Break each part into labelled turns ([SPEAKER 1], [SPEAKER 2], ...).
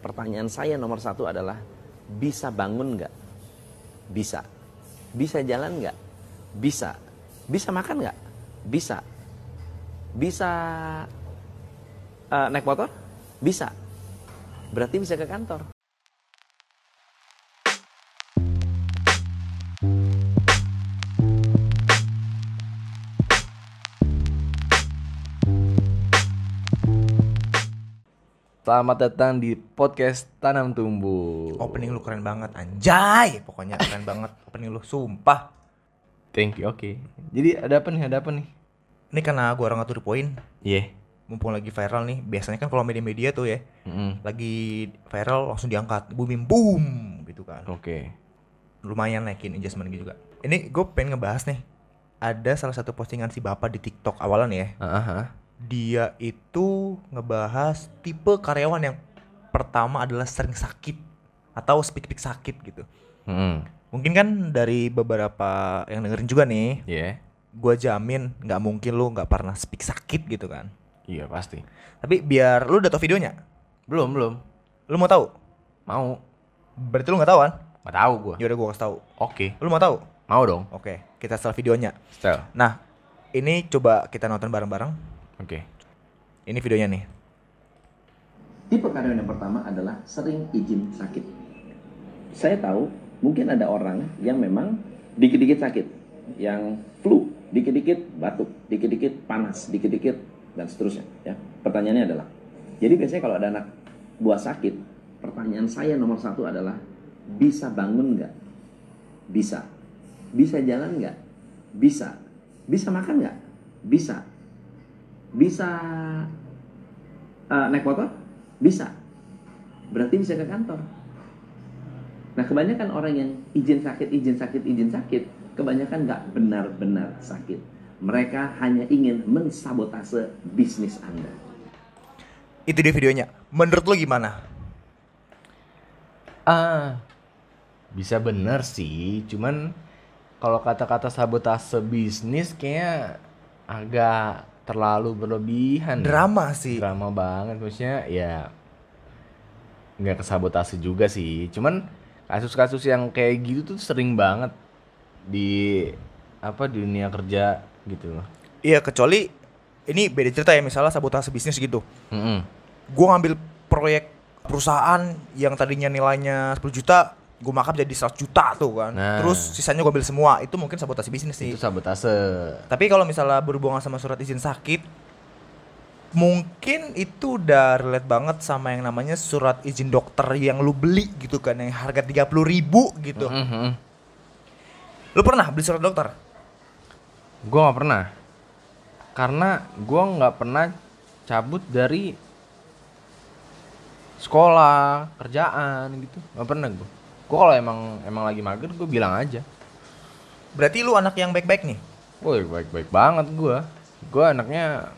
[SPEAKER 1] pertanyaan saya nomor satu adalah bisa bangun nggak? Bisa. Bisa jalan nggak? Bisa. Bisa makan nggak? Bisa. Bisa eh, naik motor? Bisa. Berarti bisa ke kantor.
[SPEAKER 2] Selamat datang di podcast Tanam Tumbuh.
[SPEAKER 3] Opening lu keren banget anjay. Pokoknya keren banget opening lu sumpah.
[SPEAKER 2] Thank you. Oke. Jadi ada apa nih? Ada apa nih?
[SPEAKER 3] Ini karena gua orang ngatur poin,
[SPEAKER 2] Iya.
[SPEAKER 3] mumpung lagi viral nih. Biasanya kan kalau media-media tuh ya,
[SPEAKER 2] Mm-mm.
[SPEAKER 3] lagi viral langsung diangkat, booming boom gitu kan.
[SPEAKER 2] Oke.
[SPEAKER 3] Lumayan naikin engagement gitu juga. Ini gue pengen ngebahas nih. Ada salah satu postingan si Bapak di TikTok awalan ya.
[SPEAKER 2] Aha.
[SPEAKER 3] Dia itu ngebahas tipe karyawan yang pertama adalah sering sakit atau speak-speak sakit gitu.
[SPEAKER 2] Mm-mm.
[SPEAKER 3] Mungkin kan dari beberapa yang dengerin juga nih,
[SPEAKER 2] Iya.
[SPEAKER 3] gue jamin nggak mungkin lu nggak pernah speak sakit gitu kan
[SPEAKER 2] Iya pasti.
[SPEAKER 3] tapi biar lu udah tau videonya
[SPEAKER 2] Belum belum.
[SPEAKER 3] lu mau tahu
[SPEAKER 2] Mau?
[SPEAKER 3] berarti lu nggak tahu kan
[SPEAKER 2] Nggak tahu gua.
[SPEAKER 3] ya udah gue kasih tahu
[SPEAKER 2] Oke.
[SPEAKER 3] lu mau tahu
[SPEAKER 2] Mau dong.
[SPEAKER 3] oke kita setel videonya
[SPEAKER 2] Style.
[SPEAKER 3] nah ini coba kita nonton bareng-bareng
[SPEAKER 2] Oke.
[SPEAKER 3] ini videonya nih
[SPEAKER 1] Tipe karyawan yang pertama adalah sering izin sakit. Saya tahu mungkin ada orang yang memang dikit-dikit sakit, yang flu, dikit-dikit batuk, dikit-dikit panas, dikit-dikit dan seterusnya. Ya, pertanyaannya adalah, jadi biasanya kalau ada anak buah sakit, pertanyaan saya nomor satu adalah bisa bangun nggak? Bisa. Bisa jalan nggak? Bisa. Bisa makan nggak? Bisa. Bisa eh, naik motor? Bisa. Berarti bisa ke kantor. Nah, kebanyakan orang yang izin sakit, izin sakit, izin sakit, kebanyakan nggak benar-benar sakit. Mereka hanya ingin mensabotase bisnis Anda.
[SPEAKER 3] itu dia videonya menurut lu gimana
[SPEAKER 2] Ah. Bisa bener sih. Cuman kalau kata-kata sabotase bisnis kayaknya agak terlalu berlebihan. ya.
[SPEAKER 3] drama sih
[SPEAKER 2] drama banget maksudnya ya nggak kesabotase juga sih cuman kasus-kasus yang kayak gitu tuh sering banget di apa di dunia kerja gitu loh
[SPEAKER 3] iya kecuali ini beda cerita ya misalnya sabotase bisnis gitu
[SPEAKER 2] Mm-mm.
[SPEAKER 3] gue ngambil proyek perusahaan yang tadinya nilainya 10 juta gue markup jadi 100 juta tuh kan
[SPEAKER 2] Nah.
[SPEAKER 3] terus sisanya gue ambil semua itu mungkin sabotasi bisnis sih
[SPEAKER 2] itu sabotase
[SPEAKER 3] tapi kalau misalnya berhubungan sama surat izin sakit mungkin itu udah relate banget sama yang namanya surat izin dokter yang lu beli gitu kan yang harga 30.000 gitu
[SPEAKER 2] Mm-mm. Mm-hmm.
[SPEAKER 3] lu pernah beli surat dokter
[SPEAKER 2] gua nggak pernah karena gua nggak pernah cabut dari sekolah kerjaan gitu nggak pernah gua gua kalau emang emang lagi mager gua bilang aja
[SPEAKER 3] berarti lu anak yang baik-baik nih
[SPEAKER 2] Woi baik-baik banget gua. Gua anaknya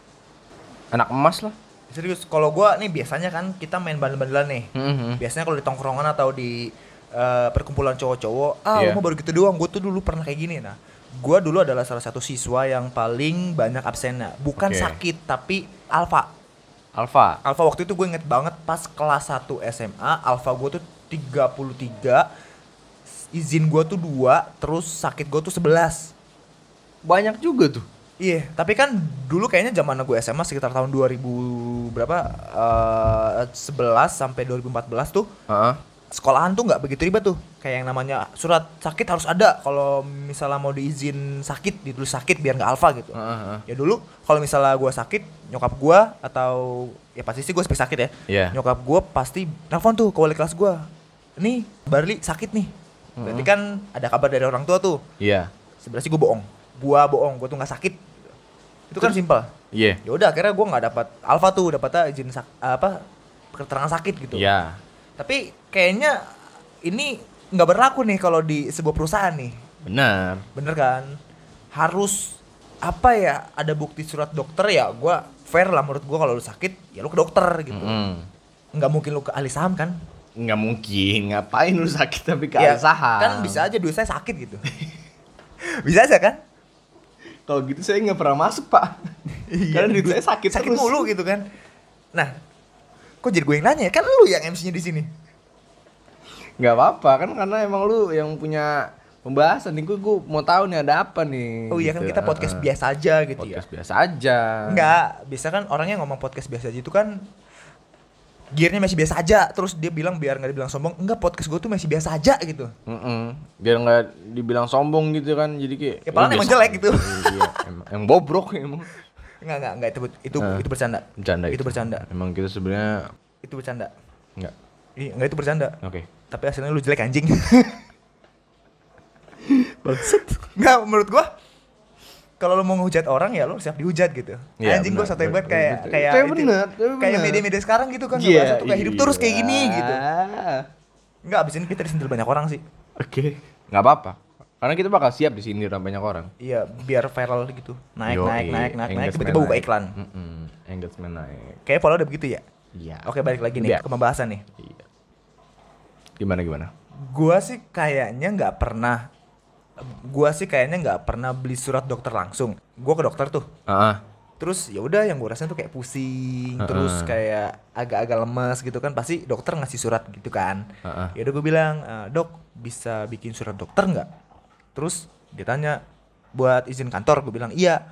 [SPEAKER 2] anak emas lah.
[SPEAKER 3] serius kalau gua nih biasanya kan kita main bandel-bandelan nih
[SPEAKER 2] Heeh.
[SPEAKER 3] biasanya kalau di tongkrongan atau di eh, perkumpulan cowok-cowok ah lu
[SPEAKER 2] Iya.
[SPEAKER 3] mah baru gitu doang gue tuh dulu pernah kayak gini nah gue dulu adalah salah satu siswa yang paling banyak absennya bukan
[SPEAKER 2] Oke.
[SPEAKER 3] sakit tapi alfa
[SPEAKER 2] Alfa.
[SPEAKER 3] alfa waktu itu gue inget banget pas kelas 1 SMA alfa gue tuh 33 izin gue tuh dua terus sakit gue tuh 11
[SPEAKER 2] Banyak juga tuh.
[SPEAKER 3] Iya, tapi kan dulu kayaknya zaman gue SMA sekitar tahun 2000 berapa eh 11 sampai 2014 tuh
[SPEAKER 2] Heeh.
[SPEAKER 3] sekolahan tuh nggak begitu ribet tuh kayak yang namanya surat sakit harus ada kalau misalnya mau diizin sakit ditulis sakit biar nggak alfa gitu
[SPEAKER 2] Heeh, heeh.
[SPEAKER 3] ya dulu kalau misalnya gua sakit nyokap gua atau ya pasti sih gue speak sakit ya
[SPEAKER 2] Iya.
[SPEAKER 3] nyokap gua pasti telepon tuh ke wali kelas gua nih Barli sakit nih berarti kan ada kabar dari orang tua tuh
[SPEAKER 2] Iya.
[SPEAKER 3] sebenarnya sih gue bohong gua bohong gue tuh nggak sakit itu kan simpel
[SPEAKER 2] Iya.
[SPEAKER 3] ya udah akhirnya gua nggak dapat alfa tuh dapatnya izin sak apa keterangan sakit gitu
[SPEAKER 2] Iya.
[SPEAKER 3] tapi kayaknya ini nggak berlaku nih kalau di sebuah perusahaan nih.
[SPEAKER 2] Benar.
[SPEAKER 3] Bener kan? Harus apa ya ada bukti surat dokter ya gua fair lah menurut gua kalau lu sakit ya lu ke dokter gitu.
[SPEAKER 2] Mm-mm.
[SPEAKER 3] Nggak mungkin lu ke ahli saham kan?
[SPEAKER 2] Nggak mungkin. Ngapain lu sakit tapi ke
[SPEAKER 3] Ya,
[SPEAKER 2] ahli saham?
[SPEAKER 3] Kan bisa aja duit saya sakit gitu. bisa aja kan?
[SPEAKER 2] Kalau gitu saya nggak pernah masuk pak. Karena duit saya Iya, sakit,
[SPEAKER 3] Iya. sakit
[SPEAKER 2] terus.
[SPEAKER 3] mulu gitu kan. Nah, Kok jadi gue yang nanya? ya? Kan lu yang MC-nya di sini.
[SPEAKER 2] nggak apa-apa kan karena emang lu yang punya pembahasan nih gue, gue mau tahu nih ada apa nih
[SPEAKER 3] Oh iya kan
[SPEAKER 2] gitu.
[SPEAKER 3] kita podcast
[SPEAKER 2] Ah, ah.
[SPEAKER 3] biasa aja gitu ya.
[SPEAKER 2] podcast biasa aja
[SPEAKER 3] Enggak, biasa kan orang yang ngomong podcast biasa aja itu kan gearnya masih biasa aja. Terus dia bilang biar nggak dibilang sombong, enggak podcast gue tuh masih biasa aja gitu.
[SPEAKER 2] Mm-mm. biar nggak dibilang sombong gitu kan jadi kayak
[SPEAKER 3] Ya, padahal
[SPEAKER 2] lu
[SPEAKER 3] emang
[SPEAKER 2] biasa
[SPEAKER 3] jelek gitu.
[SPEAKER 2] iya, emang, emang bobrok ya, emang
[SPEAKER 3] Enggak, enggak, enggak itu itu,
[SPEAKER 2] Ah.
[SPEAKER 3] itu bercanda.
[SPEAKER 2] bercanda
[SPEAKER 3] Itu bercanda.
[SPEAKER 2] emang kita sebenarnya
[SPEAKER 3] Itu bercanda.
[SPEAKER 2] nggak
[SPEAKER 3] Iya, enggak itu bercanda.
[SPEAKER 2] oke
[SPEAKER 3] Tapi hasilnya lu jelek anjing. Bangsat. Enggak, menurut gua kalau lu mau ngehujat orang ya lu siap dihujat gitu.
[SPEAKER 2] Iya,
[SPEAKER 3] anjing gua
[SPEAKER 2] benar,
[SPEAKER 3] sotoy banget
[SPEAKER 2] betul,
[SPEAKER 3] kayak
[SPEAKER 2] betul.
[SPEAKER 3] kayak
[SPEAKER 2] Tapi benar, tapi
[SPEAKER 3] kayak
[SPEAKER 2] benar.
[SPEAKER 3] media-media sekarang gitu kan
[SPEAKER 2] Iya,
[SPEAKER 3] bahasa tuh kayak hidup terus kayak gini
[SPEAKER 2] iya.
[SPEAKER 3] gitu. Enggak, abis ini kita disindir banyak orang sih.
[SPEAKER 2] oke nggak apa-apa karena kita bakal siap disindir sama banyak orang
[SPEAKER 3] Iya, biar viral gitu. Naik,
[SPEAKER 2] Yoi,
[SPEAKER 3] naik, naik, naik, naik.
[SPEAKER 2] engagement
[SPEAKER 3] Tiba-tiba buka
[SPEAKER 2] naik.
[SPEAKER 3] iklan.
[SPEAKER 2] Mm-mm, engagement naik
[SPEAKER 3] Kayaknya follow udah begitu ya.
[SPEAKER 2] iya
[SPEAKER 3] Oke, balik lagi nih
[SPEAKER 2] Iya.
[SPEAKER 3] ke pembahasan nih.
[SPEAKER 2] Iya. gimana gimana
[SPEAKER 3] Gua sih kayaknya nggak pernah. Gua sih kayaknya nggak pernah beli surat dokter langsung. Gua ke dokter tuh.
[SPEAKER 2] ah ah.
[SPEAKER 3] Terus ya udah yang gua rasain tuh kayak pusing,
[SPEAKER 2] Heeh.
[SPEAKER 3] terus kayak agak-agak lemes gitu kan. Pasti dokter ngasih surat gitu kan.
[SPEAKER 2] Heeh.
[SPEAKER 3] Ya udah gua bilang, "E, "Dok, bisa bikin surat dokter nggak?" Terus dia tanya, "Buat izin kantor?" Gua bilang, "Iya."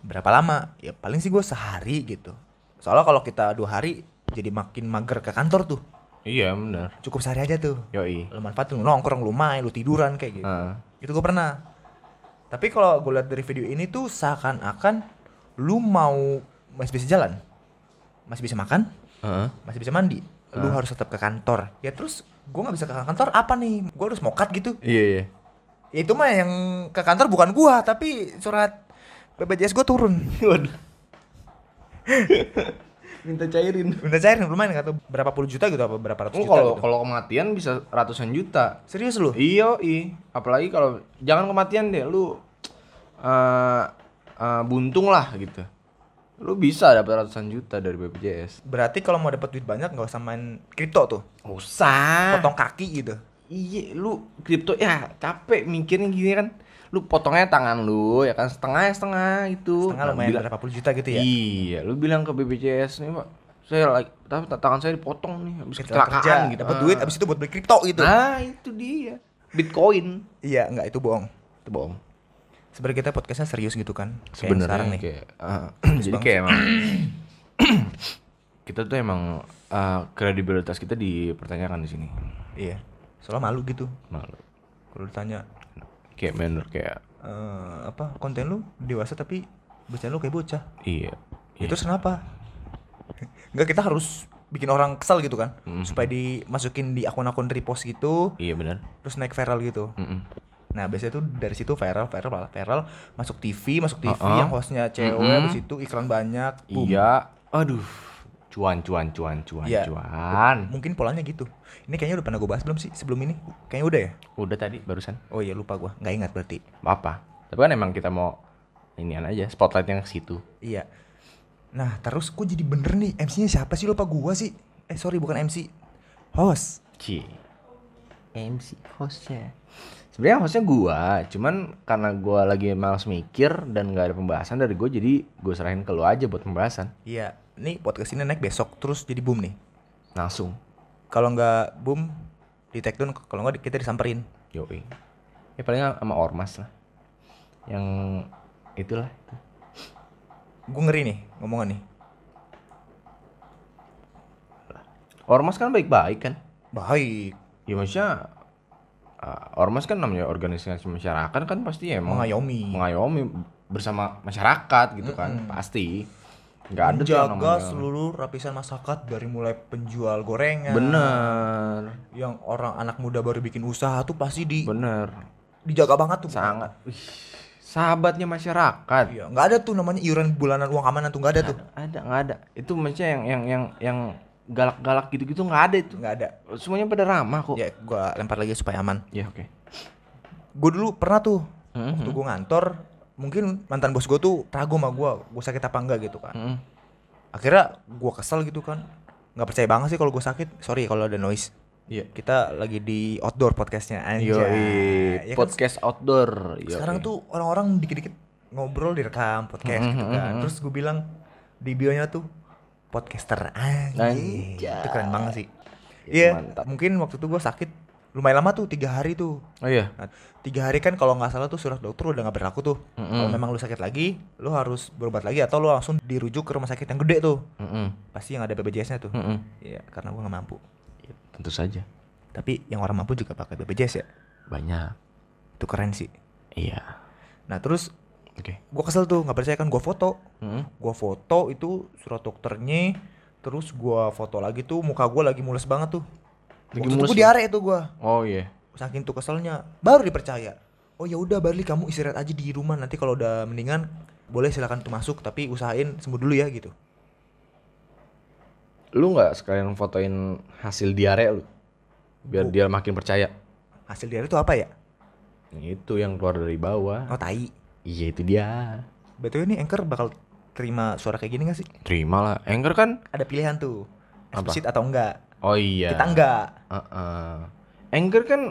[SPEAKER 3] Berapa lama? Ya paling sih gua sehari gitu. Soalnya kalau kita dua hari jadi makin mager ke kantor tuh.
[SPEAKER 2] iya benar
[SPEAKER 3] Cukup sehari aja tuh.
[SPEAKER 2] yoi
[SPEAKER 3] Lu manfaatin, lu nongkrong, lu main, lu tiduran kayak gitu.
[SPEAKER 2] Ah.
[SPEAKER 3] Itu gue pernah. Tapi kalau gue lihat dari video ini tuh seakan-akan lu mau masih bisa jalan, masih bisa makan,
[SPEAKER 2] Ah.
[SPEAKER 3] masih bisa mandi, lu harus tetap ke kantor. Ya terus gue nggak bisa ke kantor apa nih? Gue harus mokat gitu.
[SPEAKER 2] iya iya
[SPEAKER 3] Ya itu mah yang ke kantor bukan gua, tapi surat BPJS gue turun.
[SPEAKER 2] waduh minta cairin
[SPEAKER 3] Udah cair lumayan nggak tuh berapa puluh juta gitu apa berapa ratus
[SPEAKER 2] Oh,
[SPEAKER 3] juta
[SPEAKER 2] kalau
[SPEAKER 3] gitu.
[SPEAKER 2] kalau kematian bisa ratusan juta.
[SPEAKER 3] Serius lu?
[SPEAKER 2] Iya, i. Apalagi kalau jangan kematian deh, lu eh eh, buntung lah gitu. Lu bisa dapat ratusan juta dari BPJS.
[SPEAKER 3] Berarti kalau mau dapat duit banyak nggak usah main kripto tuh,
[SPEAKER 2] Usah.
[SPEAKER 3] potong kaki gitu.
[SPEAKER 2] Iya, lu kripto ya capek mikirnya gini kan. Lu potongnya tangan lu ya kan setengah setengah gitu. Nah,
[SPEAKER 3] Setengah lumayan
[SPEAKER 2] bila-
[SPEAKER 3] berapa puluh juta gitu ya.
[SPEAKER 2] Iya, lu bilang ke BPJS nih, Pak. Saya lagi tapi tangan saya dipotong nih habis
[SPEAKER 3] Kita
[SPEAKER 2] kecelakaan
[SPEAKER 3] kerja,
[SPEAKER 2] gitu.
[SPEAKER 3] dapat
[SPEAKER 2] Ah.
[SPEAKER 3] duit abis itu buat beli kripto gitu.
[SPEAKER 2] Nah, itu dia. Bitcoin.
[SPEAKER 3] Iya, nggak itu bohong.
[SPEAKER 2] Itu bohong.
[SPEAKER 3] Sebenarnya kita podcastnya serius gitu kan. Kayak
[SPEAKER 2] sebenarnya
[SPEAKER 3] sekarang nih.
[SPEAKER 2] kayak, ah, jadi kayak emang kita tuh emang ah, kredibilitas kita dipertanyakan di sini
[SPEAKER 3] Iya. Soalnya malu gitu.
[SPEAKER 2] malu
[SPEAKER 3] Kalau ditanya
[SPEAKER 2] kayak menurut kayak
[SPEAKER 3] eh apa konten lu dewasa tapi bacaan lu kayak bocah.
[SPEAKER 2] iya
[SPEAKER 3] Ya Terus kenapa? Nggak kita harus bikin orang kesal gitu kan. Supaya dimasukin di akun-akun repost gitu,
[SPEAKER 2] iya benar
[SPEAKER 3] terus naik viral gitu.
[SPEAKER 2] Mm-mm.
[SPEAKER 3] Nah, biasanya tuh dari situ viral, viral, viral, viral, masuk TV, masuk TV
[SPEAKER 2] Uh-uh.
[SPEAKER 3] yang hostnya cewek,
[SPEAKER 2] Mm-mm.
[SPEAKER 3] abis itu iklan banyak, boom.
[SPEAKER 2] iya aduh cuan cuan cuan cuan
[SPEAKER 3] Iya.
[SPEAKER 2] cuan
[SPEAKER 3] Mungkin polanya gitu. Ini kayaknya udah pernah gue bahas belum sih sebelum ini? Kayaknya udah ya?
[SPEAKER 2] udah tadi barusan
[SPEAKER 3] Oh iya lupa gua, nggak ingat berarti.
[SPEAKER 2] apa tapi kan emang kita mau inian aja spotlightnya ke situ
[SPEAKER 3] Iya. Nah terus kok jadi bener nih MC-nya siapa sih lupa gua sih? Eh sorry bukan MC, host.
[SPEAKER 2] Ci. MC hostnya. Sebenarnya hostnya gua, cuman karena gua lagi malas mikir dan nggak ada pembahasan dari gua jadi gua serahin ke lu aja buat pembahasan
[SPEAKER 3] Iya. Nih podcast ini naik besok terus jadi boom nih.
[SPEAKER 2] langsung.
[SPEAKER 3] Kalau nggak boom di take down, kalau nggak kita disamperin.
[SPEAKER 2] Yoi. Ya paling sama ormas lah. Yang itulah.
[SPEAKER 3] Gue ngeri nih ngomongan nih.
[SPEAKER 2] Ormas kan baik-baik kan?
[SPEAKER 3] Baik,
[SPEAKER 2] Ya maksudnya uh, ormas kan namanya organisasi masyarakat kan pasti emang
[SPEAKER 3] mengayomi,
[SPEAKER 2] mengayomi bersama masyarakat gitu kan pasti nggak ada tuh yang
[SPEAKER 3] menjaga
[SPEAKER 2] namanya-
[SPEAKER 3] seluruh lapisan masyarakat dari mulai penjual gorengan,
[SPEAKER 2] bener
[SPEAKER 3] yang orang anak muda baru bikin usaha tuh pasti di,
[SPEAKER 2] bener
[SPEAKER 3] dijaga banget tuh.
[SPEAKER 2] sangat wih, sahabatnya masyarakat
[SPEAKER 3] Iya, nggak ada tuh namanya iuran bulanan uang amanan tuh nggak ada tuh.
[SPEAKER 2] ada nggak ada itu maksudnya yang yang yang yang galak-galak gitu-gitu nggak ada itu
[SPEAKER 3] Nggak ada.
[SPEAKER 2] semuanya pada ramah kok ya,
[SPEAKER 3] Ya, gua lempar lagi supaya aman.
[SPEAKER 2] oke
[SPEAKER 3] Gue dulu pernah tuh,
[SPEAKER 2] Mhm.
[SPEAKER 3] waktu gue ngantor, mungkin mantan bos gue tuh ragu sama gue, gue sakit apa enggak gitu kan.
[SPEAKER 2] Mm-mm.
[SPEAKER 3] Akhirnya gue kesel gitu kan, nggak percaya banget sih kalau gue sakit. Sorry kalau ada noise.
[SPEAKER 2] Iya.
[SPEAKER 3] Kita lagi di outdoor podcastnya anjay.
[SPEAKER 2] Yoi,
[SPEAKER 3] Ya kan,
[SPEAKER 2] podcast outdoor Yoi.
[SPEAKER 3] sekarang tuh orang-orang Mhm, dikit-dikit ngobrol direkam podcast gitu kan. Terus gue bilang di bio-nya tuh, podcaster anjing.
[SPEAKER 2] Anjay.
[SPEAKER 3] Itu keren banget sih.
[SPEAKER 2] Itu
[SPEAKER 3] Iya,
[SPEAKER 2] gitu, mantap.
[SPEAKER 3] mungkin waktu itu gue sakit lumayan lama tuh tiga hari tuh.
[SPEAKER 2] Oh iya.
[SPEAKER 3] Nah, tiga hari kan kalau nggak salah tuh surat dokter udah nggak berlaku tuh.
[SPEAKER 2] Mm-mm.
[SPEAKER 3] Kalau memang lu sakit lagi, lu harus berobat lagi atau lu langsung dirujuk ke rumah sakit yang gede tuh.
[SPEAKER 2] Mm-mm.
[SPEAKER 3] Pasti yang ada BPJS-nya tuh.
[SPEAKER 2] Mm-mm. Iya,
[SPEAKER 3] Iya, karena gue nggak mampu.
[SPEAKER 2] Tentu saja.
[SPEAKER 3] Tapi yang orang mampu juga pakai BPJS ya.
[SPEAKER 2] Banyak.
[SPEAKER 3] Itu keren sih.
[SPEAKER 2] Iya.
[SPEAKER 3] Nah terus
[SPEAKER 2] Oke.
[SPEAKER 3] gue kesel tuh nggak percaya kan gue foto.
[SPEAKER 2] Mm-mm.
[SPEAKER 3] Gue foto itu surat dokternya. Terus gue foto lagi tuh muka gue lagi mules banget tuh.
[SPEAKER 2] Lagi
[SPEAKER 3] Waktu itu
[SPEAKER 2] mules
[SPEAKER 3] gue
[SPEAKER 2] ya?
[SPEAKER 3] diare tuh gue.
[SPEAKER 2] Oh iya.
[SPEAKER 3] saking tuh keselnya baru dipercaya oh ya udah Barli kamu istirahat aja di rumah nanti kalau udah mendingan boleh silakan tuh masuk tapi usahain sembuh dulu ya gitu
[SPEAKER 2] Lu nggak sekalian fotoin hasil diare lu? Biar dia makin percaya.
[SPEAKER 3] hasil diare itu apa ya
[SPEAKER 2] Itu yang keluar dari bawah.
[SPEAKER 3] oh tai
[SPEAKER 2] Iya itu dia.
[SPEAKER 3] betul ini anchor bakal terima suara kayak gini gak sih
[SPEAKER 2] Terima lah. Anchor kan?
[SPEAKER 3] ada pilihan tuh
[SPEAKER 2] Apa?
[SPEAKER 3] eksplisit atau enggak
[SPEAKER 2] Oh iya.
[SPEAKER 3] kita enggak
[SPEAKER 2] Heeh. Anchor kan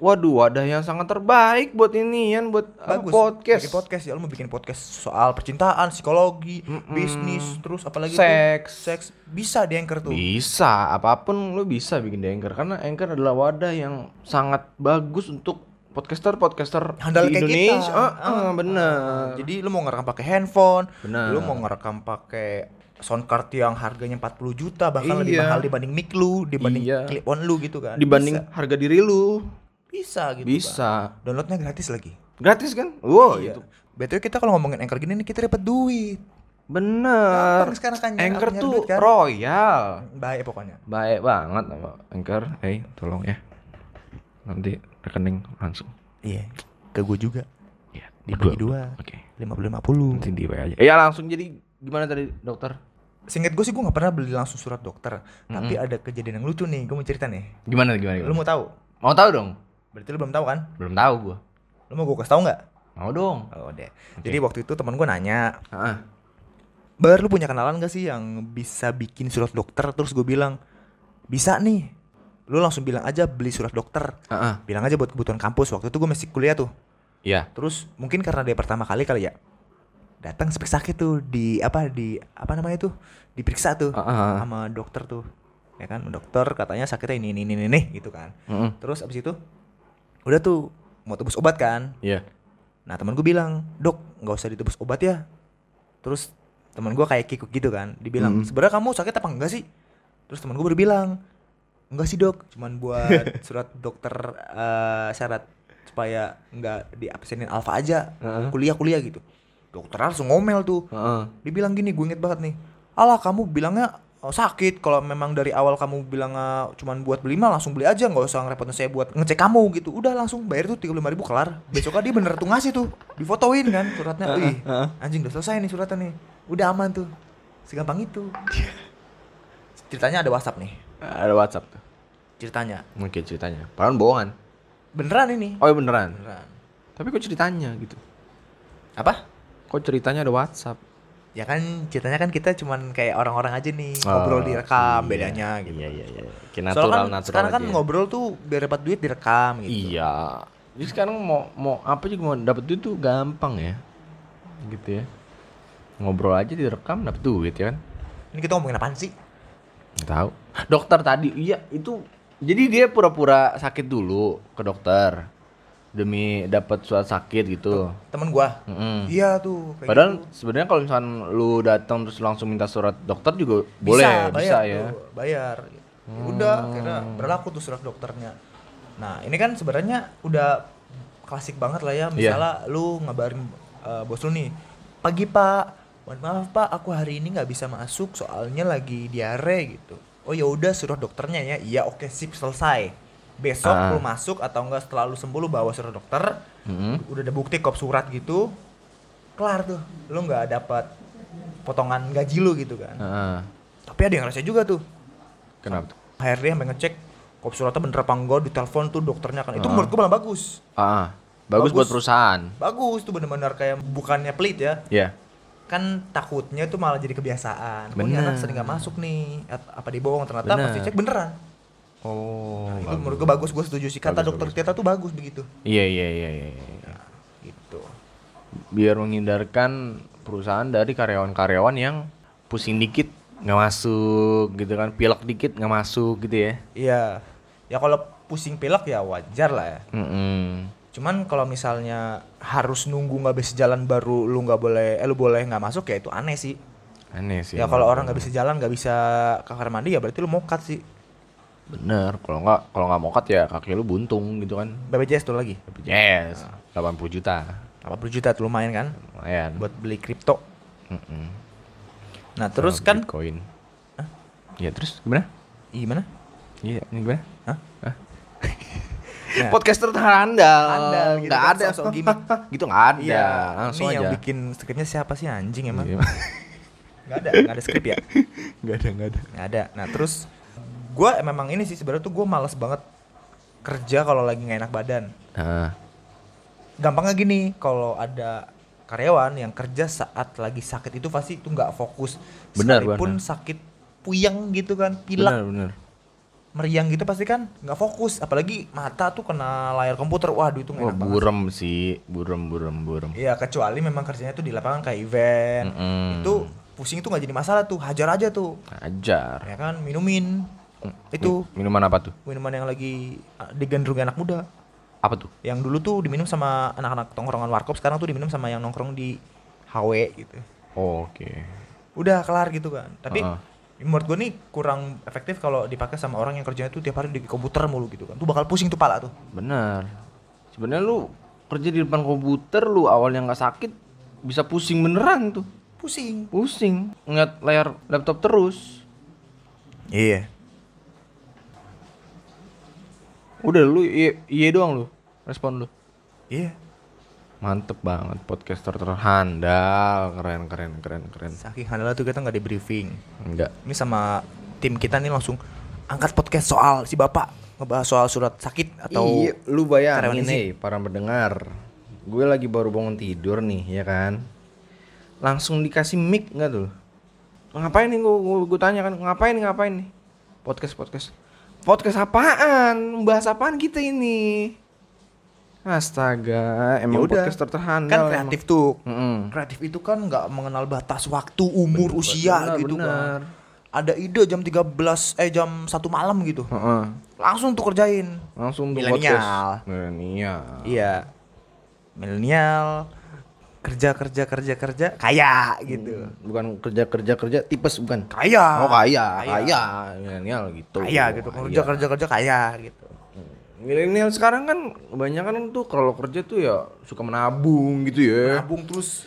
[SPEAKER 2] waduh wadah yang sangat terbaik buat ini Yan, buat apa,
[SPEAKER 3] bagus
[SPEAKER 2] podcast.
[SPEAKER 3] bikin podcast ya lu mau bikin podcast soal percintaan psikologi
[SPEAKER 2] Mm-mm.
[SPEAKER 3] bisnis terus apalagi
[SPEAKER 2] Hmm. Seks.
[SPEAKER 3] tuh, seks bisa di anchor tuh
[SPEAKER 2] Bisa, apapun lu bisa bikin di Anchor karena Anchor adalah wadah yang sangat bagus untuk podcaster-podcaster
[SPEAKER 3] handal
[SPEAKER 2] di
[SPEAKER 3] kayak
[SPEAKER 2] Indonesia.
[SPEAKER 3] kita.
[SPEAKER 2] Ah, ah,
[SPEAKER 3] Ah,
[SPEAKER 2] bener.
[SPEAKER 3] ah. Jadi lu mau ngerekam pakai handphone,
[SPEAKER 2] Bener.
[SPEAKER 3] lu mau ngerekam pakai sound card yang harganya 40 juta bahkan lebih
[SPEAKER 2] Iya.
[SPEAKER 3] mahal dibanding mic lu, dibanding
[SPEAKER 2] Iya.
[SPEAKER 3] clip on lu gitu kan.
[SPEAKER 2] dibanding harga diri lu
[SPEAKER 3] bisa, bisa gitu. Bang.
[SPEAKER 2] bisa.
[SPEAKER 3] Downloadnya gratis lagi.
[SPEAKER 2] Gratis kan? Wow,
[SPEAKER 3] Iya.
[SPEAKER 2] itu.
[SPEAKER 3] Betul kita kalau ngomongin anchor gini nih kita dapat duit.
[SPEAKER 2] Bener.
[SPEAKER 3] Gampang sekarang kan,
[SPEAKER 2] Eh, Anchor
[SPEAKER 3] nyari
[SPEAKER 2] tuh
[SPEAKER 3] duit kan.
[SPEAKER 2] royal.
[SPEAKER 3] Bahaya pokoknya.
[SPEAKER 2] Baik banget sama Anchor. Hey, tolong ya. Nanti rekening langsung.
[SPEAKER 3] Iya. Ke gue juga.
[SPEAKER 2] Ya,
[SPEAKER 3] Dibagi dua.
[SPEAKER 2] Oke.
[SPEAKER 3] 50 50.
[SPEAKER 2] Nanti di WA aja. Iya, langsung jadi gimana tadi, Dokter?
[SPEAKER 3] Singkat gue sih gue nggak pernah beli langsung surat dokter, tapi ada kejadian yang lucu nih, gue mau cerita nih.
[SPEAKER 2] Gimana gimana? gimana?
[SPEAKER 3] Lu mau tahu?
[SPEAKER 2] Mau tahu dong?
[SPEAKER 3] Berarti lu belum tahu kan?
[SPEAKER 2] Belum tahu gua.
[SPEAKER 3] Lu mau gue kasih tahu nggak?
[SPEAKER 2] Mau dong.
[SPEAKER 3] Oh deh. Jadi waktu itu teman gue nanya,
[SPEAKER 2] Heeh.
[SPEAKER 3] Bar lu punya kenalan gak sih yang bisa bikin surat dokter? Terus gue bilang, bisa nih. Lu langsung bilang aja beli surat dokter.
[SPEAKER 2] Heeh.
[SPEAKER 3] Bilang aja buat kebutuhan kampus. Waktu itu gue masih kuliah tuh.
[SPEAKER 2] Iya.
[SPEAKER 3] Terus mungkin karena dia pertama kali kali ya. Datang spek sakit tuh di apa di apa namanya tuh diperiksa tuh
[SPEAKER 2] Heeh, heeh.
[SPEAKER 3] sama dokter tuh. Ya kan, dokter katanya sakitnya ini ini ini ini, ini gitu kan.
[SPEAKER 2] Heeh.
[SPEAKER 3] Terus abis itu udah tuh mau tebus obat kan.
[SPEAKER 2] Iya.
[SPEAKER 3] Nah teman gue bilang, dok nggak usah ditebus obat ya. Terus teman gue kayak kikuk gitu kan, dibilang
[SPEAKER 2] Mm.
[SPEAKER 3] sebenarnya kamu sakit apa enggak sih? Terus teman gue baru bilang, enggak sih dok, cuman buat surat dokter eh, syarat supaya nggak diabsenin alfa aja,
[SPEAKER 2] Heeh.
[SPEAKER 3] kuliah-kuliah gitu. Dokter langsung ngomel tuh,
[SPEAKER 2] Heeh.
[SPEAKER 3] dibilang gini gue inget banget nih, alah kamu bilangnya oh, sakit kalau memang dari awal kamu bilang eh, cuman buat beli mah langsung beli aja nggak usah ngerepotin saya buat ngecek kamu gitu udah langsung bayar tuh 35.000 ribu kelar besoknya dia bener tuh ngasih tuh difotoin kan suratnya Wih, anjing udah selesai nih suratnya nih udah aman tuh segampang itu ceritanya ada WhatsApp nih
[SPEAKER 2] Ada WhatsApp tuh.
[SPEAKER 3] ceritanya
[SPEAKER 2] Mungkin ceritanya. Padahal bohongan.
[SPEAKER 3] beneran ini
[SPEAKER 2] Oh, iya beneran.
[SPEAKER 3] beneran
[SPEAKER 2] Tapi kok ceritanya gitu?
[SPEAKER 3] apa
[SPEAKER 2] Kok ceritanya ada WhatsApp?
[SPEAKER 3] ya kan ceritanya kan kita cuman kayak orang-orang aja nih
[SPEAKER 2] Oh,
[SPEAKER 3] ngobrol direkam
[SPEAKER 2] iya.
[SPEAKER 3] bedanya gitu
[SPEAKER 2] Iya, iya, iya. Kayak
[SPEAKER 3] Soalnya
[SPEAKER 2] natural,
[SPEAKER 3] kan
[SPEAKER 2] natural
[SPEAKER 3] sekarang kan
[SPEAKER 2] aja.
[SPEAKER 3] ngobrol tuh biar dapat duit direkam gitu.
[SPEAKER 2] Iya. Jadi sekarang mau mau apa juga mau dapet duit tuh gampang ya. Gitu ya. Ngobrol aja direkam dapet duit ya kan.
[SPEAKER 3] Ini kita ngomongin apaan sih?
[SPEAKER 2] Nggak tahu. Dokter tadi iya itu jadi dia pura-pura sakit dulu ke dokter demi dapat surat sakit gitu.
[SPEAKER 3] Temen gua.
[SPEAKER 2] Mm-mm.
[SPEAKER 3] Iya tuh. kayak
[SPEAKER 2] Padahal
[SPEAKER 3] gitu.
[SPEAKER 2] sebenarnya kalau misalkan lu datang terus langsung minta surat dokter juga boleh bisa
[SPEAKER 3] bayar
[SPEAKER 2] ya. Hmm.
[SPEAKER 3] tuh, bayar. Ya Udah, akhirnya berlaku tuh surat dokternya. Nah, ini kan sebenarnya udah klasik banget lah
[SPEAKER 2] Iya.
[SPEAKER 3] ya. Misalnya lu ngabarin eh, bos lu nih, pagi pak, mohon maaf pak, aku hari ini nggak bisa masuk soalnya lagi diare gitu. Oh ya udah surat dokternya ya, iya oke sip selesai. Besok
[SPEAKER 2] Ah.
[SPEAKER 3] lu masuk atau enggak setelah lu sembuh lu bawa surat dokter,
[SPEAKER 2] Mm-mm.
[SPEAKER 3] udah ada bukti kop surat gitu, kelar tuh, lu nggak dapat potongan gaji lu gitu kan.
[SPEAKER 2] Heeh.
[SPEAKER 3] Tapi ada yang rese juga tuh.
[SPEAKER 2] Kenapa tuh?
[SPEAKER 3] HRD sampai ngecek kop suratnya bener apa enggak, ditelepon tuh dokternya kan.
[SPEAKER 2] Hmm.
[SPEAKER 3] Itu menurut gue malah bagus.
[SPEAKER 2] Ah, bagus,
[SPEAKER 3] Bagus.
[SPEAKER 2] buat perusahaan.
[SPEAKER 3] Bagus tuh bener-bener kayak bukannya pelit ya.
[SPEAKER 2] Ya.
[SPEAKER 3] Kan takutnya tuh malah jadi kebiasaan. Oh,
[SPEAKER 2] Bener.
[SPEAKER 3] ini anak sering gak masuk nih. At- Apa dibohong ternyata
[SPEAKER 2] Bener.
[SPEAKER 3] pas dicek beneran.
[SPEAKER 2] Oh.
[SPEAKER 3] Itu menurut gue bagus, gue setuju sih. Kata
[SPEAKER 2] Bagus,
[SPEAKER 3] dokter Tirta tuh bagus begitu.
[SPEAKER 2] Iya iya iya iya. iya.
[SPEAKER 3] Gitu.
[SPEAKER 2] Biar menghindarkan perusahaan dari karyawan-karyawan yang pusing dikit nggak masuk gitu kan pilek dikit nggak masuk gitu ya
[SPEAKER 3] Iya. Ya kalau pusing pilek ya wajar lah ya.
[SPEAKER 2] Mm-mm.
[SPEAKER 3] Cuman kalau misalnya harus nunggu nggak bisa jalan baru lu nggak boleh, eh lu boleh nggak masuk ya itu aneh sih.
[SPEAKER 2] aneh sih
[SPEAKER 3] Ya kalau orang nggak bisa jalan nggak bisa ke kamar mandi ya berarti lu mokat sih.
[SPEAKER 2] bener kalau nggak kalau nggak mokat ya kaki lu buntung gitu kan
[SPEAKER 3] BPJS tuh lagi.
[SPEAKER 2] yes
[SPEAKER 3] Ah.
[SPEAKER 2] 80 juta
[SPEAKER 3] Apa juta tuh lumayan kan
[SPEAKER 2] lumayan
[SPEAKER 3] buat beli kripto.
[SPEAKER 2] Mm-mm.
[SPEAKER 3] Nah terus
[SPEAKER 2] Sama
[SPEAKER 3] kan,
[SPEAKER 2] bitcoin ya terus gimana
[SPEAKER 3] Ih, gimana?
[SPEAKER 2] iya ini gimana
[SPEAKER 3] Hah?
[SPEAKER 2] Hah?
[SPEAKER 3] Nah.
[SPEAKER 2] Eh, podcaster terandal
[SPEAKER 3] Handal gitu
[SPEAKER 2] nggak
[SPEAKER 3] kan,
[SPEAKER 2] ada
[SPEAKER 3] sok-sok gimmick.
[SPEAKER 2] gitu nggak ada
[SPEAKER 3] Iya,
[SPEAKER 2] langsung
[SPEAKER 3] ini
[SPEAKER 2] aja
[SPEAKER 3] yang bikin skripnya siapa sih anjing emang?
[SPEAKER 2] Iya.
[SPEAKER 3] Nggak ada, nggak ada skrip ya?
[SPEAKER 2] nggak ada nggak ada
[SPEAKER 3] Nggak ada. Nah terus, gue memang ini sih sebenarnya tuh gue malas banget kerja kalau lagi nggak enak badan.
[SPEAKER 2] nah,
[SPEAKER 3] Gampangnya gini, kalau ada karyawan yang kerja saat lagi sakit itu pasti itu nggak fokus.
[SPEAKER 2] Benar,
[SPEAKER 3] Sekalipun
[SPEAKER 2] benar.
[SPEAKER 3] sakit puyeng gitu kan, pilek,
[SPEAKER 2] benar benar
[SPEAKER 3] meriang gitu pasti kan nggak fokus. Apalagi mata tuh kena layar komputer. Waduh itu nggak
[SPEAKER 2] Wah,
[SPEAKER 3] enak banget.
[SPEAKER 2] Oh, burem sih burem burem burem
[SPEAKER 3] Iya kecuali memang kerjanya tuh di lapangan kayak event
[SPEAKER 2] Mm-mm.
[SPEAKER 3] itu pusing itu nggak jadi masalah tuh hajar aja tuh
[SPEAKER 2] ajar
[SPEAKER 3] ya kan minumin itu
[SPEAKER 2] minuman apa tuh
[SPEAKER 3] minuman yang lagi uh, digandrungi anak muda
[SPEAKER 2] apa tuh
[SPEAKER 3] yang dulu tuh diminum sama anak-anak tongkrongan warkop sekarang tuh diminum sama yang nongkrong di HW gitu
[SPEAKER 2] Oh, oke
[SPEAKER 3] udah kelar gitu kan tapi
[SPEAKER 2] Heeh.
[SPEAKER 3] menurut gue nih kurang efektif kalau dipakai sama orang yang kerjanya tuh tiap hari di komputer mulu gitu kan tuh bakal pusing tuh pala tuh
[SPEAKER 2] benar sebenarnya lu kerja di depan komputer lu awalnya nggak sakit bisa pusing beneran tuh
[SPEAKER 3] pusing
[SPEAKER 2] pusing ngeliat layar laptop terus
[SPEAKER 3] iya
[SPEAKER 2] udah lu iya, iya doang lu respon lu
[SPEAKER 3] iya
[SPEAKER 2] mantep banget podcaster terhandal keren keren keren keren
[SPEAKER 3] saking handalnya tuh kita nggak di briefing
[SPEAKER 2] enggak
[SPEAKER 3] ini sama tim kita nih langsung angkat podcast soal si bapak ngebahas soal surat sakit atau
[SPEAKER 2] Iya, lu
[SPEAKER 3] karyawan
[SPEAKER 2] bayangin
[SPEAKER 3] izin.
[SPEAKER 2] nih para pendengar. Gue lagi baru bangun tidur nih, ya kan? Langsung dikasih mic nggak tuh? Ngapain nih gue, tanya kan, ngapain ngapain nih? Podcast podcast. Podcast apaan? Bahas apaan kita ini? Astaga, emang
[SPEAKER 3] Yaudah.
[SPEAKER 2] podcast terhandal.
[SPEAKER 3] kan
[SPEAKER 2] emang.
[SPEAKER 3] kreatif tuh
[SPEAKER 2] Mm-mm.
[SPEAKER 3] kreatif itu kan nggak mengenal batas waktu umur
[SPEAKER 2] benar,
[SPEAKER 3] usia gitu
[SPEAKER 2] benar.
[SPEAKER 3] kan ada ide jam 13 eh jam satu malam gitu
[SPEAKER 2] Heeh.
[SPEAKER 3] langsung tuh kerjain
[SPEAKER 2] Langsung tuh
[SPEAKER 3] Milenial.
[SPEAKER 2] podcast. Milenial.
[SPEAKER 3] iya milenial kerja kerja kerja kerja kaya gitu
[SPEAKER 2] Bukan kerja kerja kerja tipes bukan.
[SPEAKER 3] kaya
[SPEAKER 2] Hmm. Oh kaya,
[SPEAKER 3] Kaya.
[SPEAKER 2] kaya, milenial gitu.
[SPEAKER 3] kaya gitu kerja kerja kerja kaya gitu
[SPEAKER 2] Milenial sekarang kan kebanyakan tuh kalau kerja tuh ya suka menabung gitu ya.
[SPEAKER 3] nabung terus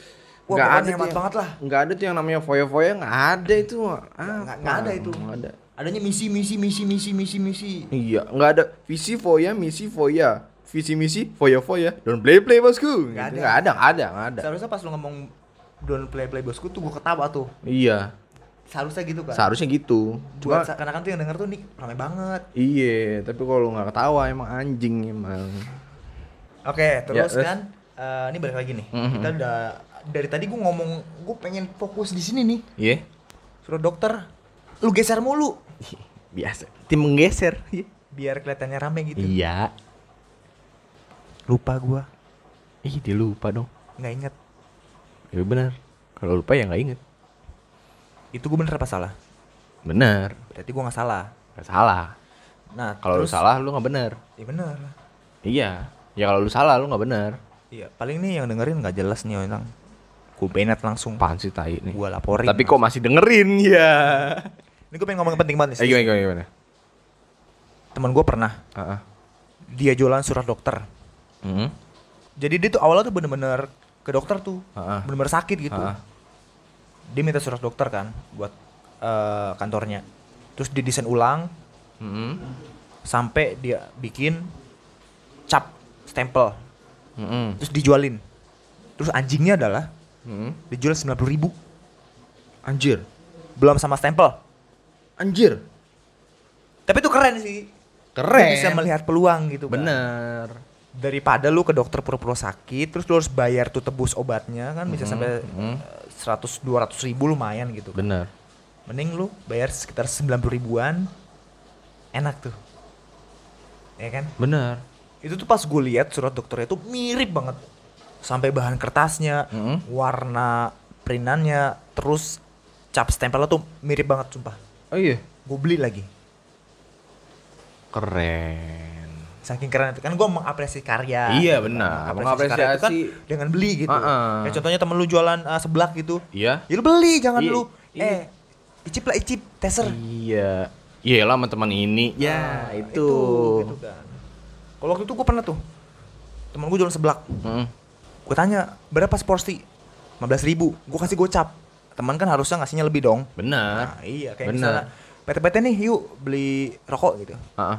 [SPEAKER 2] Nggak
[SPEAKER 3] wah pokoknya
[SPEAKER 2] tuh
[SPEAKER 3] hemat
[SPEAKER 2] yang-
[SPEAKER 3] banget lah
[SPEAKER 2] Nggak ada tuh yang namanya foya-foya, nggak ada itu. Ah,
[SPEAKER 3] nggak nggak ada itu
[SPEAKER 2] Nggak ada.
[SPEAKER 3] adanya misi misi misi misi misi misi
[SPEAKER 2] Iya, nggak ada visi foya, misi foya, visi misi foya foya, dan play play bosku.
[SPEAKER 3] Nggak
[SPEAKER 2] Gitu.
[SPEAKER 3] ada.
[SPEAKER 2] Nggak ada, nggak ada, nggak ada.
[SPEAKER 3] seharusnya pas lu ngomong don't play play bosku tuh gua ketawa tuh
[SPEAKER 2] Iya,
[SPEAKER 3] seharusnya gitu kan
[SPEAKER 2] seharusnya gitu.
[SPEAKER 3] buat
[SPEAKER 2] Cuma
[SPEAKER 3] karena kan tuh yang denger tuh nih ramai banget
[SPEAKER 2] iya, tapi kalau nggak ketawa emang anjing emang.
[SPEAKER 3] oke terus
[SPEAKER 2] Ya, terus.
[SPEAKER 3] kan eh, ini balik lagi nih
[SPEAKER 2] Mhm.
[SPEAKER 3] kita udah dari tadi gua ngomong gua pengen fokus di sini nih
[SPEAKER 2] Iya,
[SPEAKER 3] suruh dokter lu geser mulu
[SPEAKER 2] biasa. Tim menggeser. Iya.
[SPEAKER 3] biar kelihatannya rame gitu
[SPEAKER 2] Iya.
[SPEAKER 3] lupa gua
[SPEAKER 2] Ih, dia lupa dong.
[SPEAKER 3] nggak inget
[SPEAKER 2] Ya benar. Kalau lupa ya nggak inget.
[SPEAKER 3] itu gua bener apa salah
[SPEAKER 2] Benar.
[SPEAKER 3] berarti gua nggak salah
[SPEAKER 2] Gak salah.
[SPEAKER 3] nah
[SPEAKER 2] Kalau lu
[SPEAKER 3] terus-
[SPEAKER 2] salah lu nggak benar.
[SPEAKER 3] ya bener
[SPEAKER 2] Iya. Ya kalau lu salah lu nggak benar.
[SPEAKER 3] iya paling nih yang dengerin nggak jelas nih orang gua benet langsung
[SPEAKER 2] Apaan sih tai nih?
[SPEAKER 3] gua laporin
[SPEAKER 2] Tapi kok masih dengerin ya?
[SPEAKER 3] Ini gue pengen ngomong yang penting banget
[SPEAKER 2] Eh
[SPEAKER 3] nih.
[SPEAKER 2] gimana gimana gimana?
[SPEAKER 3] Temen gue pernah
[SPEAKER 2] Heeh.
[SPEAKER 3] dia jualan surat dokter.
[SPEAKER 2] Heeh.
[SPEAKER 3] Jadi dia tuh awalnya tuh bener-bener ke dokter tuh,
[SPEAKER 2] Heeh.
[SPEAKER 3] bener-bener sakit gitu.
[SPEAKER 2] Heeh.
[SPEAKER 3] Dia minta surat dokter kan buat eh, kantornya. Terus didesain ulang
[SPEAKER 2] Heeh.
[SPEAKER 3] sampai dia bikin cap stempel,
[SPEAKER 2] Heeh.
[SPEAKER 3] terus dijualin. Terus anjingnya adalah dijual sembilan puluh ribu,
[SPEAKER 2] Anjir.
[SPEAKER 3] belum sama stempel.
[SPEAKER 2] Anjir.
[SPEAKER 3] Tapi itu keren sih.
[SPEAKER 2] Keren.
[SPEAKER 3] Dia bisa melihat peluang gitu. kan.
[SPEAKER 2] Bener.
[SPEAKER 3] daripada lu ke dokter pura-pura sakit terus lu harus bayar tuh tebus obatnya kan bisa sampai
[SPEAKER 2] mhm.
[SPEAKER 3] seratus dua ratus ribu lumayan gitu kan.
[SPEAKER 2] Bener.
[SPEAKER 3] mending lu bayar sekitar 90 ribuan enak tuh ya kan
[SPEAKER 2] Bener.
[SPEAKER 3] itu tuh pas gue lihat surat dokternya tuh mirip banget sampai bahan kertasnya
[SPEAKER 2] Mhm.
[SPEAKER 3] warna printannya terus cap stempelnya tuh mirip banget sumpah
[SPEAKER 2] Oh iya.
[SPEAKER 3] gue beli lagi
[SPEAKER 2] Keren.
[SPEAKER 3] saking keren itu kan gue mengapresiasi karya
[SPEAKER 2] Iya,
[SPEAKER 3] gitu kan.
[SPEAKER 2] benar.
[SPEAKER 3] karya itu kan
[SPEAKER 2] Mengapresiasi-
[SPEAKER 3] dengan beli gitu
[SPEAKER 2] Ah-ah.
[SPEAKER 3] ya contohnya temen lu jualan eh, seblak gitu
[SPEAKER 2] Iya.
[SPEAKER 3] ya lu beli jangan
[SPEAKER 2] Iya,
[SPEAKER 3] lu
[SPEAKER 2] iya.
[SPEAKER 3] eh icip lah icip teser
[SPEAKER 2] Iya. Iya lah sama teman ini. Ya,
[SPEAKER 3] Nah,
[SPEAKER 2] itu.
[SPEAKER 3] gitu kan kalau waktu itu gue pernah tuh temen gue jualan seblak
[SPEAKER 2] Heeh.
[SPEAKER 3] gue tanya berapa seporsi 15.000 ribu gue kasih gocap teman kan harusnya ngasihnya lebih dong
[SPEAKER 2] Benar.
[SPEAKER 3] nah, iya kayak
[SPEAKER 2] Bener.
[SPEAKER 3] misalnya PT-PT nih yuk beli rokok gitu
[SPEAKER 2] Heeh.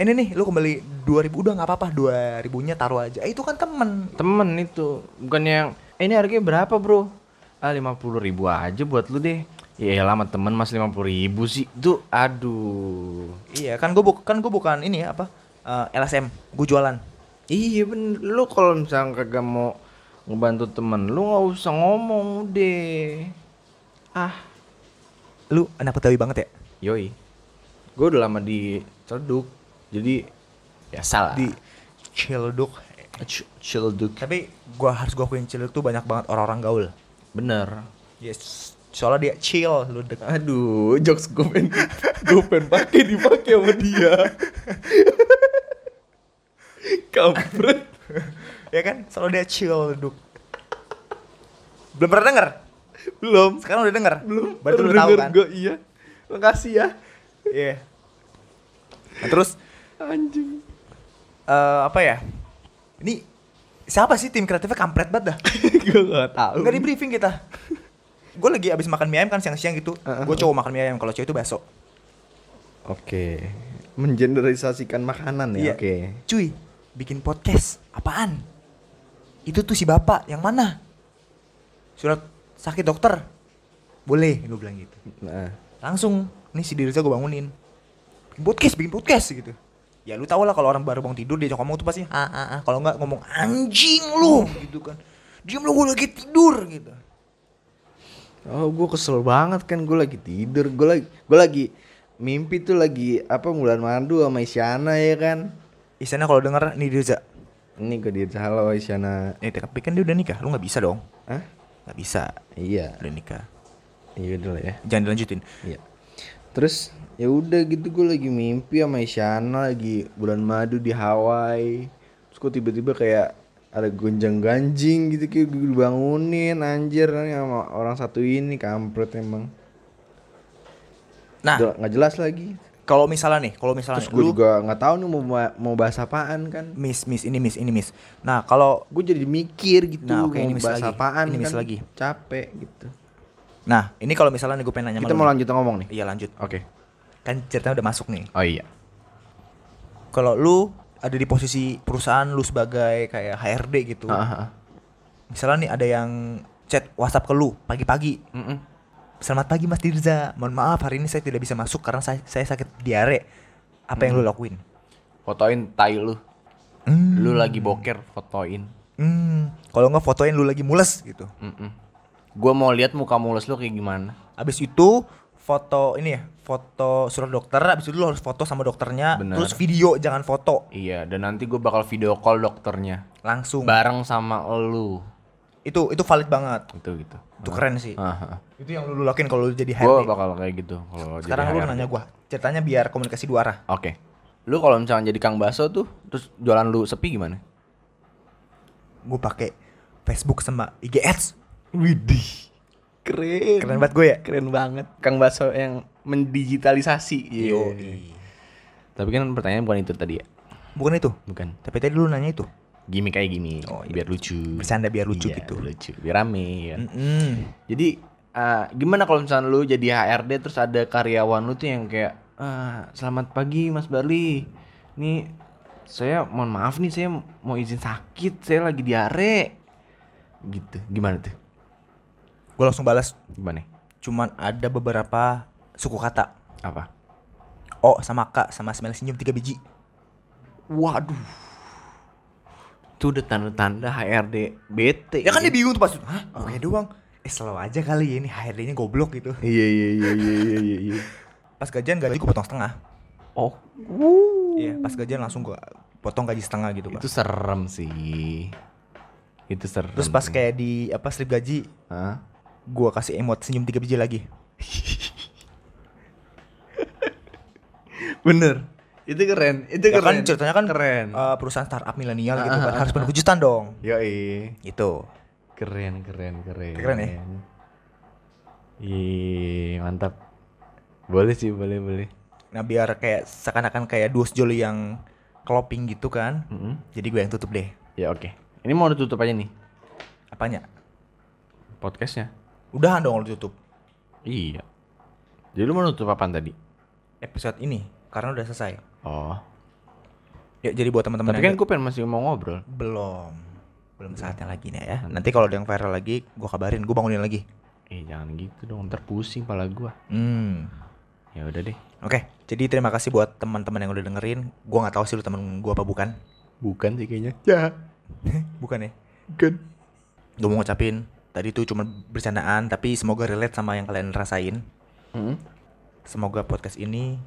[SPEAKER 3] ini nih lu kembali 2000 udah nggak apa-apa 2000 nya taruh aja Eh, itu kan temen
[SPEAKER 2] Temen itu bukannya yang "Eh, ini harganya berapa, Bro? Ah, 50 ribu aja buat lu deh. Ya lama temen mas 50 ribu sih Tuh aduh
[SPEAKER 3] iya kan gue bukan gue bukan ini ya apa eh, LSM gue jualan
[SPEAKER 2] Iya bener Lu kalau misalnya kagak mau ngebantu temen Lu nggak usah ngomong deh Ah
[SPEAKER 3] lu anak betawi banget ya
[SPEAKER 2] Yoi Gue udah lama di Celduk Jadi Biasa lah
[SPEAKER 3] di Ciledug
[SPEAKER 2] C- Celduk
[SPEAKER 3] tapi gua harus gua akuin Ciledug tuh banyak banget orang-orang gaul
[SPEAKER 2] Bener
[SPEAKER 3] yes soalnya dia chill lu dek
[SPEAKER 2] Aduh jokes gue pengen Gue pengen pake dipake sama dia Kampret
[SPEAKER 3] ya kan soalnya dia chill duk belum pernah denger
[SPEAKER 2] Belum
[SPEAKER 3] sekarang udah denger
[SPEAKER 2] Belum
[SPEAKER 3] baru lu
[SPEAKER 2] Baru
[SPEAKER 3] tahu
[SPEAKER 2] denger
[SPEAKER 3] kan
[SPEAKER 2] gua, Iya Makasih ya
[SPEAKER 3] iya Nah, terus
[SPEAKER 2] Anjing
[SPEAKER 3] eh, apa ya ini siapa sih tim kreatifnya kampret banget dah
[SPEAKER 2] Gue gak tau
[SPEAKER 3] nggak di briefing kita gue lagi abis makan mie ayam kan siang-siang gitu gue cowok makan mie ayam kalau cowok itu bakso
[SPEAKER 2] Oke Mengeneralisasikan makanan ya
[SPEAKER 3] Iya.
[SPEAKER 2] Oke
[SPEAKER 3] cuy bikin podcast apaan itu tuh si bapak yang mana surat sakit dokter boleh gue bilang gitu
[SPEAKER 2] Nah
[SPEAKER 3] langsung nih si Dirza gue bangunin bikin podcast bikin podcast gitu ya lu tau lah kalau orang baru bangun tidur dia ngomong tuh pasti ah ah ah." kalau nggak ngomong anjing lu gitu kan diam lu gue lagi tidur gitu
[SPEAKER 2] Oh, gue kesel banget kan gue lagi tidur, gue lagi gue lagi mimpi tuh lagi apa Mulan Mandu sama Isyana ya kan.
[SPEAKER 3] Isyana kalau denger nih Dirza
[SPEAKER 2] Ini gue di halo Isyana.
[SPEAKER 3] eh tapi kan dia udah nikah lu nggak bisa dong
[SPEAKER 2] Hah?
[SPEAKER 3] nggak bisa
[SPEAKER 2] Iya,
[SPEAKER 3] udah nikah
[SPEAKER 2] iya udah lah ya.
[SPEAKER 3] jangan dilanjutin
[SPEAKER 2] Iya. Terus ya udah gitu gue lagi mimpi sama Isyana lagi bulan madu di Hawaii. Terus gue tiba-tiba kayak ada gonjang ganjing gitu kayak gue dibangunin anjir nih sama orang satu ini kampret emang.
[SPEAKER 3] nah
[SPEAKER 2] Udah nggak jelas lagi.
[SPEAKER 3] kalau misalnya nih kalau misalnya
[SPEAKER 2] Terus
[SPEAKER 3] nih,
[SPEAKER 2] gue
[SPEAKER 3] lu
[SPEAKER 2] juga nggak tahu nih mau ba- mau bahas apaan kan.
[SPEAKER 3] miss miss ini miss ini miss nah kalau
[SPEAKER 2] gue jadi mikir gitu
[SPEAKER 3] Nah, oke,
[SPEAKER 2] mau
[SPEAKER 3] ini miss
[SPEAKER 2] bahas
[SPEAKER 3] lagi.
[SPEAKER 2] apaan
[SPEAKER 3] Ini miss
[SPEAKER 2] kan
[SPEAKER 3] lagi.
[SPEAKER 2] capek gitu
[SPEAKER 3] nah ini kalau misalnya nih gue pengen nanya sama
[SPEAKER 2] kita
[SPEAKER 3] lu
[SPEAKER 2] mau
[SPEAKER 3] nih.
[SPEAKER 2] lanjut ngomong nih
[SPEAKER 3] iya lanjut
[SPEAKER 2] oke
[SPEAKER 3] kan ceritanya udah masuk nih
[SPEAKER 2] oh iya
[SPEAKER 3] kalau lu ada di posisi perusahaan lu sebagai kayak HRD gitu misalnya nih ada yang chat WhatsApp ke lu pagi-pagi selamat pagi Mas Dirza mohon maaf hari ini saya tidak bisa masuk karena saya, saya sakit diare apa yang lu
[SPEAKER 2] Hmm.
[SPEAKER 3] lakuin
[SPEAKER 2] fotoin tai lu
[SPEAKER 3] hmm,
[SPEAKER 2] lu lagi boker fotoin
[SPEAKER 3] hmm, kalau nggak fotoin lu lagi mules gitu
[SPEAKER 2] gue mau lihat muka mulus lu kayak gimana
[SPEAKER 3] Abis itu foto ini ya, foto surat dokter, abis itu lu harus foto sama dokternya,
[SPEAKER 2] Bener.
[SPEAKER 3] terus video jangan foto
[SPEAKER 2] iya dan nanti gue bakal video call dokternya
[SPEAKER 3] langsung.
[SPEAKER 2] bareng sama lu
[SPEAKER 3] itu itu valid banget.
[SPEAKER 2] gitu gitu
[SPEAKER 3] Itu keren sih. Itu yang lu lakuin kalau lu jadi
[SPEAKER 2] gue
[SPEAKER 3] HRD.
[SPEAKER 2] bakal kayak gitu kalau jadi
[SPEAKER 3] Sekarang lu
[SPEAKER 2] HRD.
[SPEAKER 3] nanya gua, ceritanya biar komunikasi dua arah.
[SPEAKER 2] oke lu kalau misalnya jadi kang baso tuh terus jualan lu sepi gimana
[SPEAKER 3] Gua pakai Facebook sama IG Ads.
[SPEAKER 2] Widih. Keren.
[SPEAKER 3] Keren banget gue ya.
[SPEAKER 2] Keren banget. Kang Baso yang mendigitalisasi. Iya.
[SPEAKER 3] Iya. Yoi.
[SPEAKER 2] Tapi kan pertanyaan bukan itu tadi ya.
[SPEAKER 3] Bukan itu.
[SPEAKER 2] Bukan.
[SPEAKER 3] Tapi tadi lu nanya itu.
[SPEAKER 2] Gimik kayak gini
[SPEAKER 3] Oh, iya.
[SPEAKER 2] biar lucu.
[SPEAKER 3] Bercanda biar lucu
[SPEAKER 2] Iya,
[SPEAKER 3] gitu.
[SPEAKER 2] biar Lucu, biar rame ya.
[SPEAKER 3] Mm-mm.
[SPEAKER 2] Jadi eh, gimana kalau misalnya lu jadi HRD terus ada karyawan lu tuh yang kayak "Ah, selamat pagi Mas Barli. Nih saya mohon maaf nih saya mau izin sakit, saya lagi diare. Gitu. Gimana tuh?
[SPEAKER 3] Gua langsung balas
[SPEAKER 2] Gimana?
[SPEAKER 3] cuman ada beberapa suku kata.
[SPEAKER 2] Apa?
[SPEAKER 3] Oh sama kak sama smile senyum tiga biji.
[SPEAKER 2] Waduh. Itu udah tanda-tanda HRD bete.
[SPEAKER 3] Ya kan dia bingung tuh pas itu. Hah?
[SPEAKER 2] Ah.
[SPEAKER 3] Oke doang. Eh slow aja kali ya ini HRD-nya goblok gitu.
[SPEAKER 2] Iya iya iya iya iya iya. iya.
[SPEAKER 3] Pas gajian gaji gue potong setengah.
[SPEAKER 2] Oh,
[SPEAKER 3] Iya, pas gajian langsung gue potong gaji setengah gitu, Pak.
[SPEAKER 2] Hmm. itu serem sih. Itu serem.
[SPEAKER 3] Terus pas
[SPEAKER 2] sih.
[SPEAKER 3] kayak di apa slip gaji,
[SPEAKER 2] Hah?
[SPEAKER 3] gua kasih emot senyum tiga biji lagi.
[SPEAKER 2] Bener. Itu keren. Itu
[SPEAKER 3] Ya
[SPEAKER 2] keren.
[SPEAKER 3] kan ceritanya kan
[SPEAKER 2] keren.
[SPEAKER 3] eh, perusahaan startup milenial gitu
[SPEAKER 2] Ah,
[SPEAKER 3] kan
[SPEAKER 2] ah,
[SPEAKER 3] harus penuh kejutan dong.
[SPEAKER 2] Yoi.
[SPEAKER 3] Gitu.
[SPEAKER 2] Keren, keren, keren. eh?
[SPEAKER 3] Keren ya?
[SPEAKER 2] Ih, mantap. Boleh sih, boleh, boleh.
[SPEAKER 3] Nah biar kayak seakan-akan kayak duo sejoli yang keloping gitu kan.
[SPEAKER 2] Mm-mm.
[SPEAKER 3] Jadi gue yang tutup deh.
[SPEAKER 2] Ya oke. Ini mau ditutup aja nih
[SPEAKER 3] Apanya?
[SPEAKER 2] podcastnya.
[SPEAKER 3] Udahan dong lo tutup
[SPEAKER 2] Iya. Jadi lu mau nutup apaan tadi?
[SPEAKER 3] episode ini karena udah selesai.
[SPEAKER 2] Oh.
[SPEAKER 3] Ya jadi buat teman-teman
[SPEAKER 2] Tapi
[SPEAKER 3] yang
[SPEAKER 2] kan gue pengen masih mau ngobrol.
[SPEAKER 3] belum belum saatnya lagi nih ya. Nanti kalau ada yang viral lagi, gue kabarin, gue bangunin lagi.
[SPEAKER 2] Eh jangan gitu dong, ntar pusing pala gua.
[SPEAKER 3] Hmm.
[SPEAKER 2] Ya udah deh.
[SPEAKER 3] Oke, jadi terima kasih buat teman-teman yang udah dengerin. Gua nggak tahu sih lu temen gua apa bukan.
[SPEAKER 2] Bukan sih kayaknya.
[SPEAKER 3] Ya. bukan ya.
[SPEAKER 2] Bukan.
[SPEAKER 3] Gue mau ngucapin tadi tuh cuma bercandaan, tapi semoga relate sama yang kalian rasain. Semoga podcast ini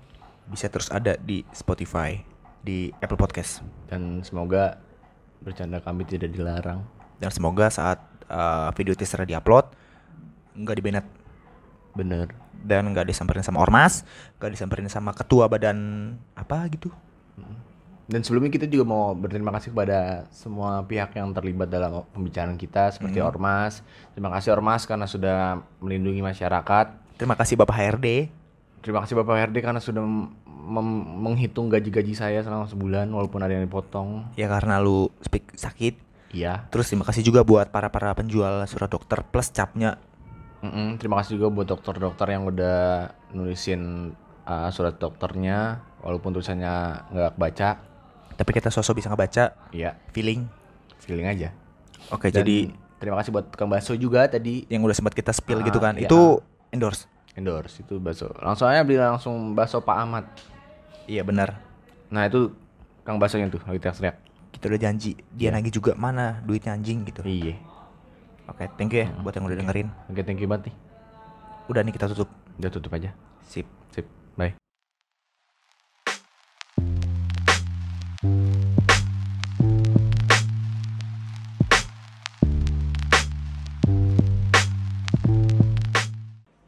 [SPEAKER 3] bisa terus ada di Spotify, di Apple Podcast.
[SPEAKER 2] Dan semoga bercanda kami tidak dilarang.
[SPEAKER 3] Dan semoga saat uh, video teaser diupload nggak dibenet
[SPEAKER 2] Bener.
[SPEAKER 3] dan nggak disamperin sama ormas, nggak disamperin sama ketua badan apa gitu.
[SPEAKER 2] Dan sebelumnya kita juga mau berterima kasih kepada semua pihak yang terlibat dalam pembicaraan kita seperti ormas. Terima kasih ormas karena sudah melindungi masyarakat.
[SPEAKER 3] Terima kasih Bapak HRD.
[SPEAKER 2] Terima kasih Bapak HRD karena sudah mem- mem- menghitung gaji-gaji saya selama sebulan walaupun ada yang dipotong.
[SPEAKER 3] Ya karena lu speak sakit.
[SPEAKER 2] Iya.
[SPEAKER 3] Terus terima kasih juga buat para-para penjual surat dokter plus capnya.
[SPEAKER 2] Mm-mm. Terima kasih juga buat dokter-dokter yang udah nulisin uh, surat dokternya walaupun tulisannya nggak baca.
[SPEAKER 3] Tapi kita sosok bisa ngebaca
[SPEAKER 2] Iya,
[SPEAKER 3] feeling.
[SPEAKER 2] feeling aja.
[SPEAKER 3] Oke,
[SPEAKER 2] Dan
[SPEAKER 3] jadi
[SPEAKER 2] terima kasih buat Kang Baso juga tadi
[SPEAKER 3] yang udah sempat kita spill gitu
[SPEAKER 2] Ah,
[SPEAKER 3] kan.
[SPEAKER 2] iya.
[SPEAKER 3] Itu endorse.
[SPEAKER 2] endorse itu bakso. Langsung aja beli langsung bakso Pak Ahmad.
[SPEAKER 3] Iya benar.
[SPEAKER 2] Nah, itu Kang Basonya tuh lagi teriak-teriak.
[SPEAKER 3] Kita udah janji. Dia nagih juga mana duitnya anjing gitu.
[SPEAKER 2] Iya. Hmm.
[SPEAKER 3] Oke, thank you ya buat yang udah dengerin.
[SPEAKER 2] Oke, thank you banget nih.
[SPEAKER 3] Udah nih kita tutup.
[SPEAKER 2] Udah tutup aja.
[SPEAKER 3] Sip.
[SPEAKER 2] Sip. Bye.